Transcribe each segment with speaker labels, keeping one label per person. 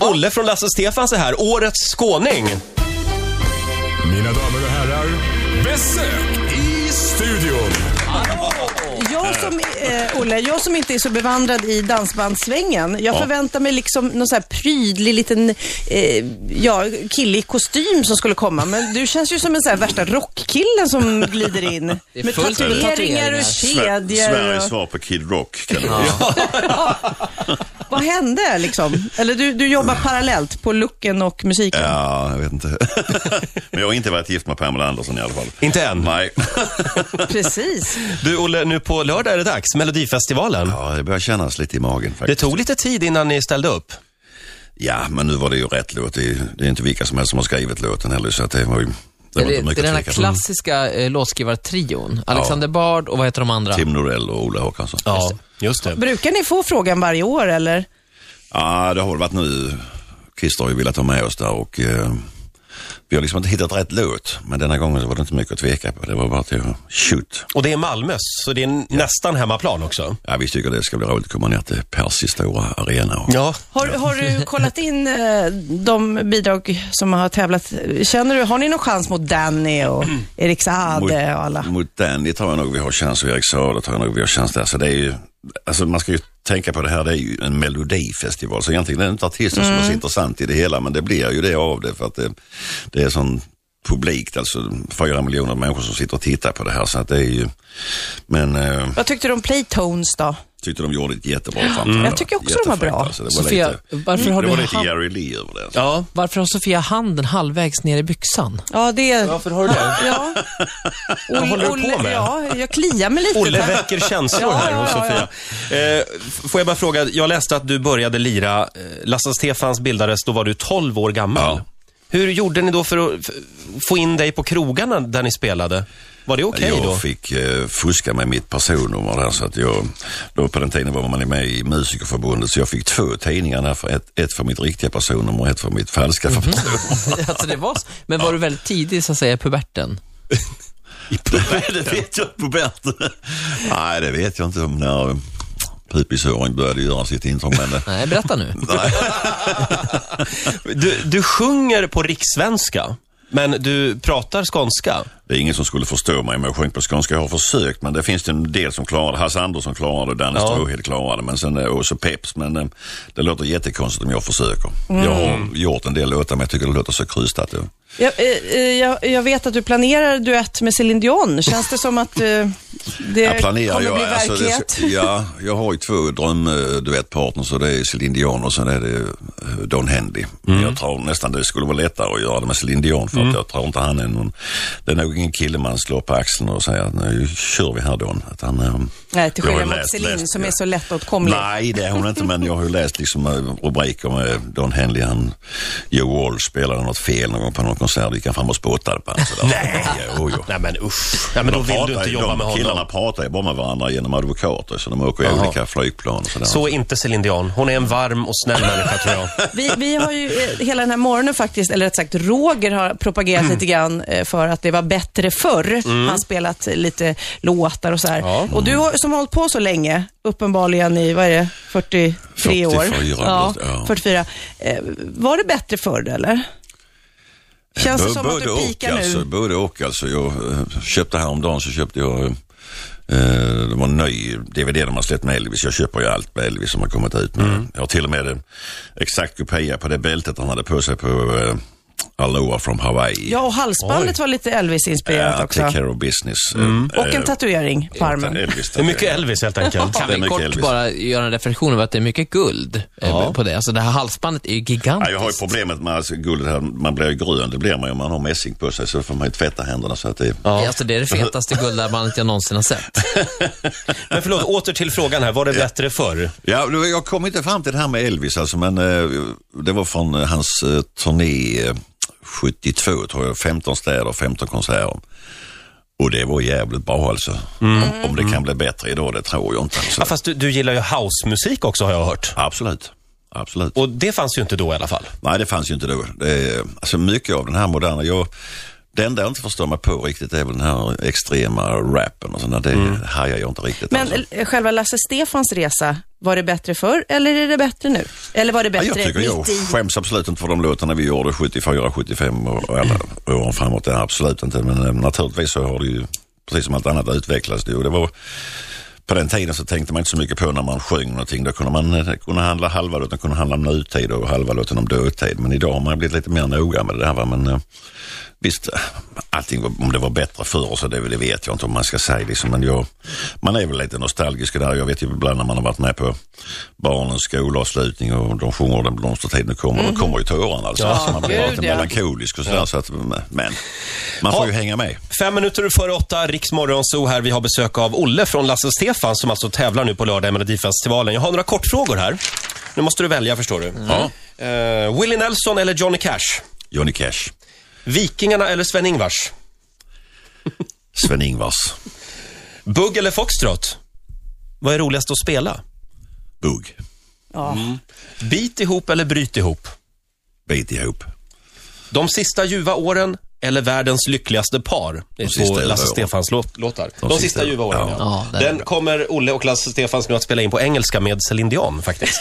Speaker 1: Kalle från Lasse Stefans är här, årets skåning.
Speaker 2: Mina damer och herrar, besök i studion.
Speaker 3: Jag som, eh, Olle, jag som inte är så bevandrad i dansbandssvängen, jag förväntar mig liksom någon så här prydlig liten eh, ja, kille i kostym som skulle komma. Men du känns ju som en så här värsta rockkillen som glider in. Med
Speaker 4: fullt med
Speaker 3: tatueringar
Speaker 4: tatueringar.
Speaker 3: och
Speaker 5: Sve-
Speaker 3: kedjor.
Speaker 5: Sveriges
Speaker 3: Och,
Speaker 5: svar på Kid Rock. Kan ja.
Speaker 3: vad hände liksom? Eller du, du jobbar parallellt på looken och musiken.
Speaker 5: ja, jag vet inte. Men jag har inte varit gift med Pamela Andersson i alla fall.
Speaker 1: Inte än.
Speaker 5: Nej.
Speaker 3: Precis.
Speaker 1: Du Olle, nu på lördag är det dags, Melodifestivalen.
Speaker 5: Ja, det börjar kännas lite i magen
Speaker 1: Det
Speaker 5: faktiskt.
Speaker 1: tog lite tid innan ni ställde upp.
Speaker 5: Ja, men nu var det ju rätt låt. Det är, det är inte vilka som helst som har skrivit låten heller, så att det var ju... Det
Speaker 4: Det,
Speaker 5: var
Speaker 4: det,
Speaker 5: inte
Speaker 4: det är
Speaker 5: mycket
Speaker 4: den här
Speaker 5: att tveka på.
Speaker 4: klassiska eh, låtskrivartrion. Alexander Bard och vad heter de andra?
Speaker 5: Tim Norell och Ola Håkansson. Ja.
Speaker 1: Ja, just det.
Speaker 3: Brukar ni få frågan varje år eller?
Speaker 5: det har väl varit nu. Christer har ju velat ha med oss där och eh, vi har liksom inte hittat rätt låt. Men denna gången så var det inte mycket att tveka på. Det var bara till att shoot.
Speaker 1: Och det är Malmö, så det är n- nästan hemmaplan också.
Speaker 5: Ja, vi tycker det ska bli roligt att komma ner till Persis stora arena. Och...
Speaker 1: Ja.
Speaker 3: Har, har du kollat in eh, de bidrag som har tävlat? Känner du, har ni någon chans mot Danny och Erik Saade och alla?
Speaker 5: mot Danny tror jag nog vi har chans och Erik Saade tror jag nog vi har chans där. Så det är ju, alltså man ska ju tänka på det här, det är ju en melodifestival. Så egentligen är det inte artisten som
Speaker 3: Mm.
Speaker 5: är så intressant i det hela, men det blir ju det av det för att det, det är sån publikt, alltså fyra miljoner människor som sitter och tittar på det här. Så att det är ju, men eh,
Speaker 3: Vad tyckte du om Playtones då?
Speaker 5: tyckte de gjorde ett jättebra framträdande.
Speaker 3: Jag tycker också de var bra.
Speaker 5: Jättefräckt, Alltså, det var
Speaker 4: Sofia,
Speaker 5: lite,
Speaker 4: varför har
Speaker 5: det
Speaker 4: du
Speaker 5: var lite
Speaker 4: hand-
Speaker 5: Jerry Lee över det. Alltså.
Speaker 1: Ja.
Speaker 4: Varför har Sofia handen halvvägs ner i byxan?
Speaker 3: Ja, det...
Speaker 1: Varför har du det?
Speaker 3: Ja. Vad
Speaker 1: håller du på med?
Speaker 3: Ja, jag kliar mig lite.
Speaker 1: Olle väcker känslor här hos
Speaker 3: Ja, ja,
Speaker 1: Sofia. Eh, f- får jag bara fråga, jag läste att du började lira, eh, Lasse Stefans bildades, då var du 12 år gammal.
Speaker 5: Ja.
Speaker 1: Hur gjorde ni då för att f- få in dig på krogarna där ni spelade? Var det okej då?
Speaker 5: jag fick eh, fuska med mitt personnummer där så att jag, då på den tiden var man med i Musikerförbundet så jag fick två tidningar där, för ett, ett för mitt riktiga personnummer och ett för mitt falska personnummer.
Speaker 4: alltså det var, s- men var du väldigt tidig så att säga i puberten?
Speaker 5: Nej, det vet jag inte på Bert. Nej, det vet jag inte om när pipishöring började göra sitt intrång men det-
Speaker 4: Nej, berätta nu.
Speaker 1: Du, du sjunger på rikssvenska, men du pratar skånska.
Speaker 5: det är ingen som skulle förstå mig om jag sjöng på skånska. Jag har försökt men det finns det en del som klarar det. Hasse Andersson klarar det, Danne Stråhed klarar det men sen eh, också Peps. Men eh, det låter jättekonstigt om jag försöker. Jag har gjort en del låtar men jag tycker det låter så krystat. Det.
Speaker 3: Jag, eh, eh, jag, jag vet att du planerar duett med Céline Dion. Känns det som att eh, det
Speaker 5: Jag planerar
Speaker 3: Eh, kommer
Speaker 5: jag.
Speaker 3: bli
Speaker 5: alltså, det,
Speaker 3: verklighet?
Speaker 5: ja, jag har ju två eh, drömduettpartners och det är Céline Dion och sen är det eh, Don Henley.
Speaker 3: Mm.
Speaker 5: Jag tror nästan det skulle vara lättare att göra det med Céline Dion för att jag tror inte han är någon, det är nog ingen kille man slår på axeln och säger att nu kör vi här Don. Att han, eh,
Speaker 3: Nej, till
Speaker 5: jag har
Speaker 3: skillnad mot
Speaker 5: läst-
Speaker 3: Céline
Speaker 5: läst-
Speaker 3: som är
Speaker 5: ja.
Speaker 3: så lättåtkomlig.
Speaker 5: Nej, det är hon inte, men jag har ju läst liksom eh, rubriker med Don Henley. Han, Joe Walsh spelade något fel någon gång på någon konsert. Gick han fram och spottade på honom. sådär. Nej! Jo, jo.
Speaker 1: Nej men usch. Ja, men då
Speaker 5: De
Speaker 1: vill
Speaker 5: pratar
Speaker 1: du inte
Speaker 5: ju-
Speaker 1: jobba
Speaker 5: de
Speaker 1: med
Speaker 5: killarna
Speaker 1: honom.
Speaker 5: pratar ju bara med varandra genom advokater, så de åker i olika flygplan och sådär.
Speaker 1: Så är inte Céline Dion. Hon är en varm och snäll människa tror jag.
Speaker 3: Vi, vi har ju eh, hela den här morgonen faktiskt, eller rätt sagt Roger har propagerat lite grann eh, för att det var bättre förr.
Speaker 5: Mm.
Speaker 3: Han har spelat eh, lite låtar och så här. Och du har, som har hållit på så länge, uppenbarligen i, vad är det, 43 år?
Speaker 5: 44,
Speaker 3: ja,
Speaker 5: ja.
Speaker 3: 44. Eh, Var det bättre förr eller? Känns det
Speaker 5: Bö-
Speaker 3: som att
Speaker 5: Eh, både
Speaker 3: du pikar
Speaker 5: och,
Speaker 3: nu?
Speaker 5: alltså, Både och alltså. Jag eh, köpte häromdagen så köpte jag eh, det var en ny DVD de har släppt med Elvis. Jag köper ju allt med Elvis som har kommit ut. Men
Speaker 3: Mm.
Speaker 5: Jag har till och med en exakt kopia på det bältet han hade på sig på eh, Aloha from Hawaii.
Speaker 3: Ja, och halsbandet var lite Elvis-inspirerat
Speaker 5: Eh,
Speaker 3: också. Mm.
Speaker 5: Take care of business. Eh,
Speaker 3: Och en
Speaker 5: eh,
Speaker 3: tatuering på armen.
Speaker 5: Elvis
Speaker 1: Det är mycket Elvis helt enkelt.
Speaker 4: Kan
Speaker 5: Det är
Speaker 4: vi
Speaker 5: mycket
Speaker 4: kort
Speaker 5: Elvis.
Speaker 4: bara göra en reflektion över att det är mycket guld eh, på det. Alltså det här halsbandet är ju
Speaker 5: Ja,
Speaker 4: gigantiskt.
Speaker 5: jag har ju problemet med alltså, guldet här, man blir ju grön, det blir man ju om man har mässing på sig, så får man ju tvätta händerna så att det...
Speaker 4: Ja. Alltså det är det fetaste guldarmbandet jag någonsin har sett.
Speaker 1: Men förlåt, åter till frågan här. Var det bättre förr?
Speaker 5: Ja, det var- jag kom inte fram till det här med Elvis alltså, men eh, det var från eh, hans eh, turné eh, 72 tror jag, 15 städer, 15 konserter. Och det var jävligt bra alltså. Om, om det kan bli bättre idag, det tror jag inte. Alltså.
Speaker 1: Ja, fast du, du gillar ju housemusik också har jag hört.
Speaker 5: Absolut. Absolut.
Speaker 1: Och det fanns ju inte då i alla fall.
Speaker 5: Nej, det fanns ju inte då. Det, är- alltså mycket av den här moderna, jag Det enda jag inte förstår mig på riktigt är väl den här extrema rappen och sådär. Det hajar jag inte riktigt.
Speaker 3: Men
Speaker 5: alltså.
Speaker 3: eh, själva Lasse Stefans resa, var det bättre förr eller är det bättre nu? Eller var det
Speaker 5: Ja,
Speaker 3: bättre
Speaker 5: jag tycker jag
Speaker 3: mitt i?
Speaker 5: skäms absolut inte för de låtarna vi gjorde 74, 75 och och alla åren framåt. Det är absolut inte. Men eh, naturligtvis så har det ju, precis som allt annat, utvecklats. Det, och det var, på den tiden så tänkte man inte så mycket på när man sjöng någonting. Då kunde man eh, kunde handla halva låten kunde handla om nutid och halva låten om dåtid. Men idag har man blivit lite mer noga med det där. Va? Men, eh, Visst, allting var, om det var bättre förr så det, det vet jag inte om man ska säga. Liksom, men jag, man är väl lite nostalgisk där. Jag vet ju ibland när man har varit med på barnens skolavslutning och de sjunger Den blomstertid nu kommer. Då kommer ju tårarna. Alltså, så man blir
Speaker 4: Gud,
Speaker 5: lite
Speaker 4: Mm. ja.
Speaker 5: melankolisk och sådär. Så att, men man får ju hänga med.
Speaker 1: Fem minuter före åtta, Riksmorgon så här. Vi har besök av Olle från Lasse Stefan som alltså tävlar nu på lördag i Melodifestivalen. Jag har några kortfrågor här. Nu måste du välja, förstår du.
Speaker 4: Mm.
Speaker 5: Ja.
Speaker 1: Eh, Willie Nelson eller Johnny Cash?
Speaker 5: Johnny Cash,
Speaker 1: Vikingarna eller Sven-Ingvars?
Speaker 5: Sven-Ingvars,
Speaker 1: Bugg eller foxtrot? Vad är roligast att spela?
Speaker 5: Bugg,
Speaker 3: Ja.
Speaker 1: Bit ihop eller bryt ihop?
Speaker 5: Bit ihop.
Speaker 1: De sista ljuva åren eller världens lyckligaste par? Det är
Speaker 5: De sista
Speaker 1: två
Speaker 5: ljuva
Speaker 1: Lasse
Speaker 5: åren.
Speaker 1: Stefans låt- låtar. De,
Speaker 5: De
Speaker 1: sista,
Speaker 5: sista
Speaker 1: ljuva åren,
Speaker 5: ja.
Speaker 1: ja.
Speaker 4: Ja, det är
Speaker 1: Den kommer Olle och Lasse Stefans nu att spela in på engelska med Céline Dion, faktiskt.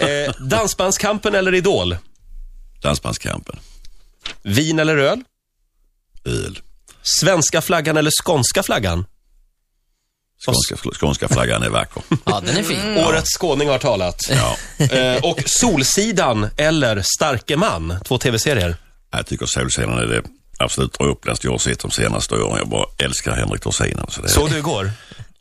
Speaker 1: eh, dansbandskampen eller Idol?
Speaker 5: Dansbandskampen,
Speaker 1: Vin eller öl?
Speaker 5: öl,
Speaker 1: Svenska flaggan eller skånska flaggan?
Speaker 5: skånska, skånska flaggan är vacker.
Speaker 4: Ja, den är fin.
Speaker 5: Mm.
Speaker 1: Årets skåning har talat.
Speaker 5: Ja.
Speaker 1: Eh, och Solsidan eller Starke man, två tv-serier.
Speaker 5: Jag tycker Solsidan är det absolut dråpligaste jag har sett de senaste åren. Jag bara älskar Henrik Dorsin. Alltså det...
Speaker 1: Såg du igår?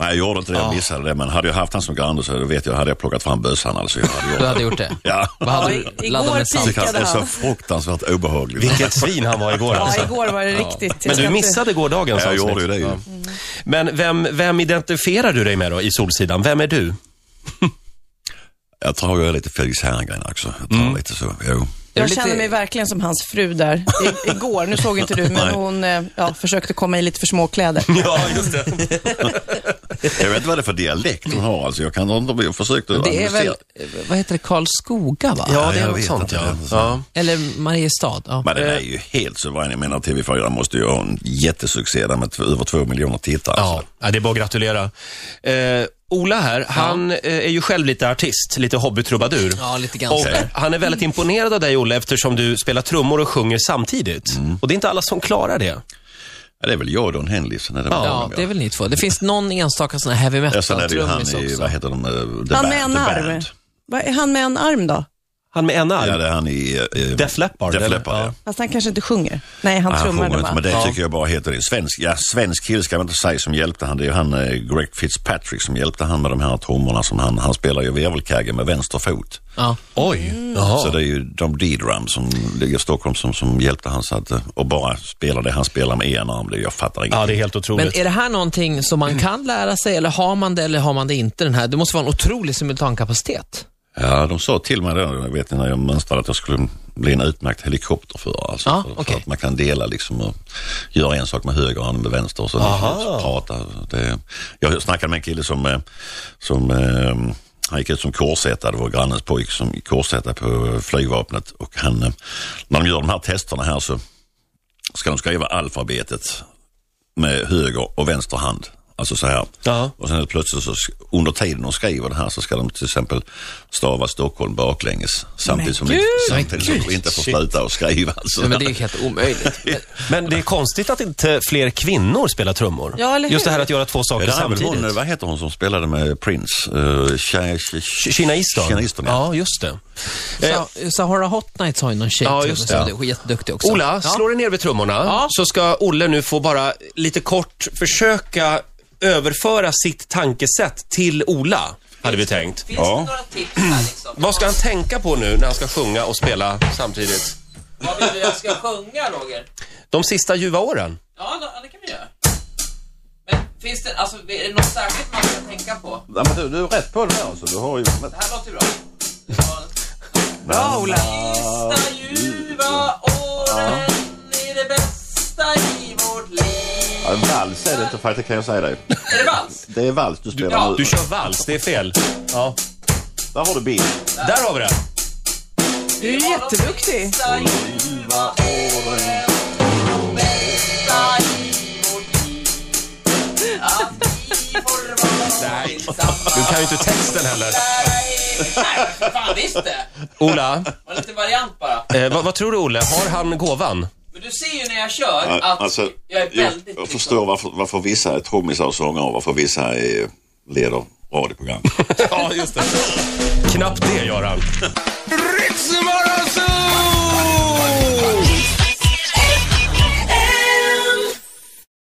Speaker 5: Nej, jag gjorde inte det. Jag missade det. Men hade jag haft han som granne så vet jag, hade jag plockat fram bössan alltså. Jag hade gjort
Speaker 4: Du
Speaker 5: det.
Speaker 4: hade gjort det.
Speaker 5: Ja.
Speaker 4: Vad hade
Speaker 3: Ja,
Speaker 4: du?
Speaker 3: i-
Speaker 4: Laddat
Speaker 3: igår
Speaker 4: med
Speaker 5: Jag
Speaker 4: salt?
Speaker 5: tycker han är
Speaker 3: Likadant.
Speaker 5: så fruktansvärt obehaglig.
Speaker 1: Vilket svin han var igår
Speaker 3: Ja,
Speaker 1: alltså.
Speaker 3: igår var det riktigt.
Speaker 1: Men
Speaker 3: Jag
Speaker 1: du
Speaker 3: ska inte-
Speaker 1: missade gårdagens
Speaker 5: Jag gjorde ju
Speaker 1: avsnitt.
Speaker 5: det. Ju.
Speaker 1: Men vem, vem identifierar du dig med då i Solsidan? Vem är du?
Speaker 5: Jag tror jag är lite Felix Herngren också. Jag
Speaker 4: Mm.
Speaker 5: tror lite så. Jo.
Speaker 4: Är
Speaker 3: Jag
Speaker 4: du
Speaker 3: känner
Speaker 4: lite-
Speaker 3: mig verkligen som hans fru där i, igår. Nu såg inte du, men
Speaker 5: Nej.
Speaker 3: hon eh, ja, försökte komma i lite för små kläder.
Speaker 1: Ja, just det.
Speaker 5: Jag vet inte vad det är för dialekt hon har. Alltså, jag kan inte... Jag försökte
Speaker 4: Det är
Speaker 5: analysera.
Speaker 4: väl, eh, vad heter det, Karlskoga va?
Speaker 1: Ja,
Speaker 5: jag
Speaker 1: det är något
Speaker 5: vet
Speaker 1: sånt
Speaker 5: inte,
Speaker 1: ja.
Speaker 5: det är
Speaker 1: ja.
Speaker 5: sant.
Speaker 4: Eller Mariestad? Ja.
Speaker 5: Men den är ju helt suverän. Jag menar TV4 måste ju ha en jättesuccé där med t- över två miljoner tittare.
Speaker 1: Ja.
Speaker 5: Alltså.
Speaker 1: ja, det är bara att gratulera. Eh, Ola här, han eh, är ju själv lite artist, lite hobbytrubadur.
Speaker 4: Ja, lite grann
Speaker 1: Och
Speaker 4: så.
Speaker 1: han är väldigt imponerad av dig, Olle, eftersom du spelar trummor och sjunger samtidigt.
Speaker 5: Mm.
Speaker 1: Och det är inte alla som klarar det.
Speaker 5: Ja, det är väl jag och Don Henleysen. är det väl
Speaker 4: Ja,
Speaker 5: de,
Speaker 4: det är väl ni två. Det finns någon enstaka sån här heavy
Speaker 5: Ja, sen är det ju han
Speaker 4: metal-trummis
Speaker 5: i,
Speaker 4: också.
Speaker 5: vad heter de, eh, The Band.
Speaker 3: Han med en
Speaker 5: The
Speaker 3: arm.
Speaker 5: Band.
Speaker 3: Vad Är han med en arm då?
Speaker 1: Han med en arm.
Speaker 5: Ja, det är han i... Eh,
Speaker 1: Def Leppard,
Speaker 5: Def
Speaker 1: eller?
Speaker 5: Leppard, ja.
Speaker 3: Fast han kanske inte sjunger. Nej, han
Speaker 5: Nej, han
Speaker 3: trummar
Speaker 5: sjunger
Speaker 3: det
Speaker 5: inte, men
Speaker 3: bara.
Speaker 5: det tycker jag bara heter det. Svensk, ja, svensk kille ska man inte säga som hjälpte han. Det är ju han eh, Greg Fitzpatrick som hjälpte han med de här trummorna som han, han spelar ju virvelkagge med vänster fot.
Speaker 4: Ja.
Speaker 1: Oj. Jaha.
Speaker 5: Så det är ju de D-drum som ligger i Stockholm som, som hjälpte han så att, eh, och bara spela det han spelar med en arm. Det, jag fattar inget.
Speaker 1: Ja, det är helt
Speaker 4: Men
Speaker 1: otroligt.
Speaker 4: är det här någonting som man kan lära sig, eller har man det eller har man det inte? Den här, det måste vara en otrolig simultankapacitet.
Speaker 5: Ja, de sa till mig då, jag vet när jag mönstrade att jag skulle bli en utmärkt helikopterförare. Alltså,
Speaker 4: Ja,
Speaker 5: för,
Speaker 4: okej.
Speaker 5: för att man kan dela liksom och göra en sak med höger hand med vänster och så så prata. Det, jag snackade med en kille som, eh, som eh, han gick ut som korsättare, det var grannens pojk som korsättare på eh, flygvapnet och han, eh, när de gör de här testerna här så ska de skriva alfabetet med höger och vänster hand. Alltså så här.
Speaker 1: Ja.
Speaker 5: Och sen helt plötsligt så sk- under tiden de skriver det här så ska de till exempel stava Stockholm baklänges. Samtidigt som, de, samtidigt som de inte får sluta att skriva. Alltså.
Speaker 4: Nej, men det är ju helt omöjligt.
Speaker 1: Men det är konstigt att inte fler kvinnor spelar trummor.
Speaker 3: Ja, eller hur?
Speaker 1: Just det här att göra två
Speaker 5: Ja,
Speaker 1: saker
Speaker 5: det här är väl hon,
Speaker 1: samtidigt.
Speaker 5: vad heter hon som spelade med Prince? Uh,
Speaker 1: Kina Easton.
Speaker 5: Kina Easton, ja.
Speaker 1: just det. Eh,
Speaker 4: Sa- Sahara Hot Nights har ju någon tjej
Speaker 1: Ja,
Speaker 4: till
Speaker 1: just
Speaker 4: som
Speaker 1: det.
Speaker 4: är jätteduktig också.
Speaker 1: Ola,
Speaker 4: ja.
Speaker 1: slå dig ner vid trummorna. Så ska Olle nu få bara lite kort försöka överföra sitt tankesätt till Ola, hade vi tänkt.
Speaker 4: Finns
Speaker 5: Ja.
Speaker 4: några tips här liksom?
Speaker 1: Vad ska han tänka på nu när han ska sjunga och spela samtidigt?
Speaker 4: Vad vill du jag ska sjunga, Roger?
Speaker 1: De sista ljuva åren?
Speaker 4: Ja, det kan vi göra. Men finns det, alltså, är det något särskilt man ska tänka på?
Speaker 5: Ja, men du, du är rätt på den här alltså. Du har ju... Men,
Speaker 4: Det här låter bra.
Speaker 3: Bra, Ola.
Speaker 4: Sista ljuva åren är det bästa i vårt liv.
Speaker 5: ja, vals är det inte faktiskt, kan jag säga dig.
Speaker 4: Är det vals?
Speaker 5: Det är vals du spelar
Speaker 4: Ja.
Speaker 5: nu.
Speaker 1: Du kör vals, det är fel. Ja.
Speaker 5: Där har du bild.
Speaker 1: Där har vi det.
Speaker 3: Du är jätteduktig.
Speaker 4: Sista ljuva åren är det
Speaker 1: kan ju inte texten heller.
Speaker 6: Nej, för fan visst det.
Speaker 1: Ola,
Speaker 6: Var lite variant bara.
Speaker 1: eh, vad, vad tror du Olle? Har han gåvan?
Speaker 6: Men du ser ju när jag kör
Speaker 5: Ja,
Speaker 6: att
Speaker 5: alltså,
Speaker 6: jag är väldigt...
Speaker 5: jag, jag förstår varför, varför vissa är trummisar och sångare och varför vissa är, leder radioprogram.
Speaker 1: ja, just det. Knappt det gör han.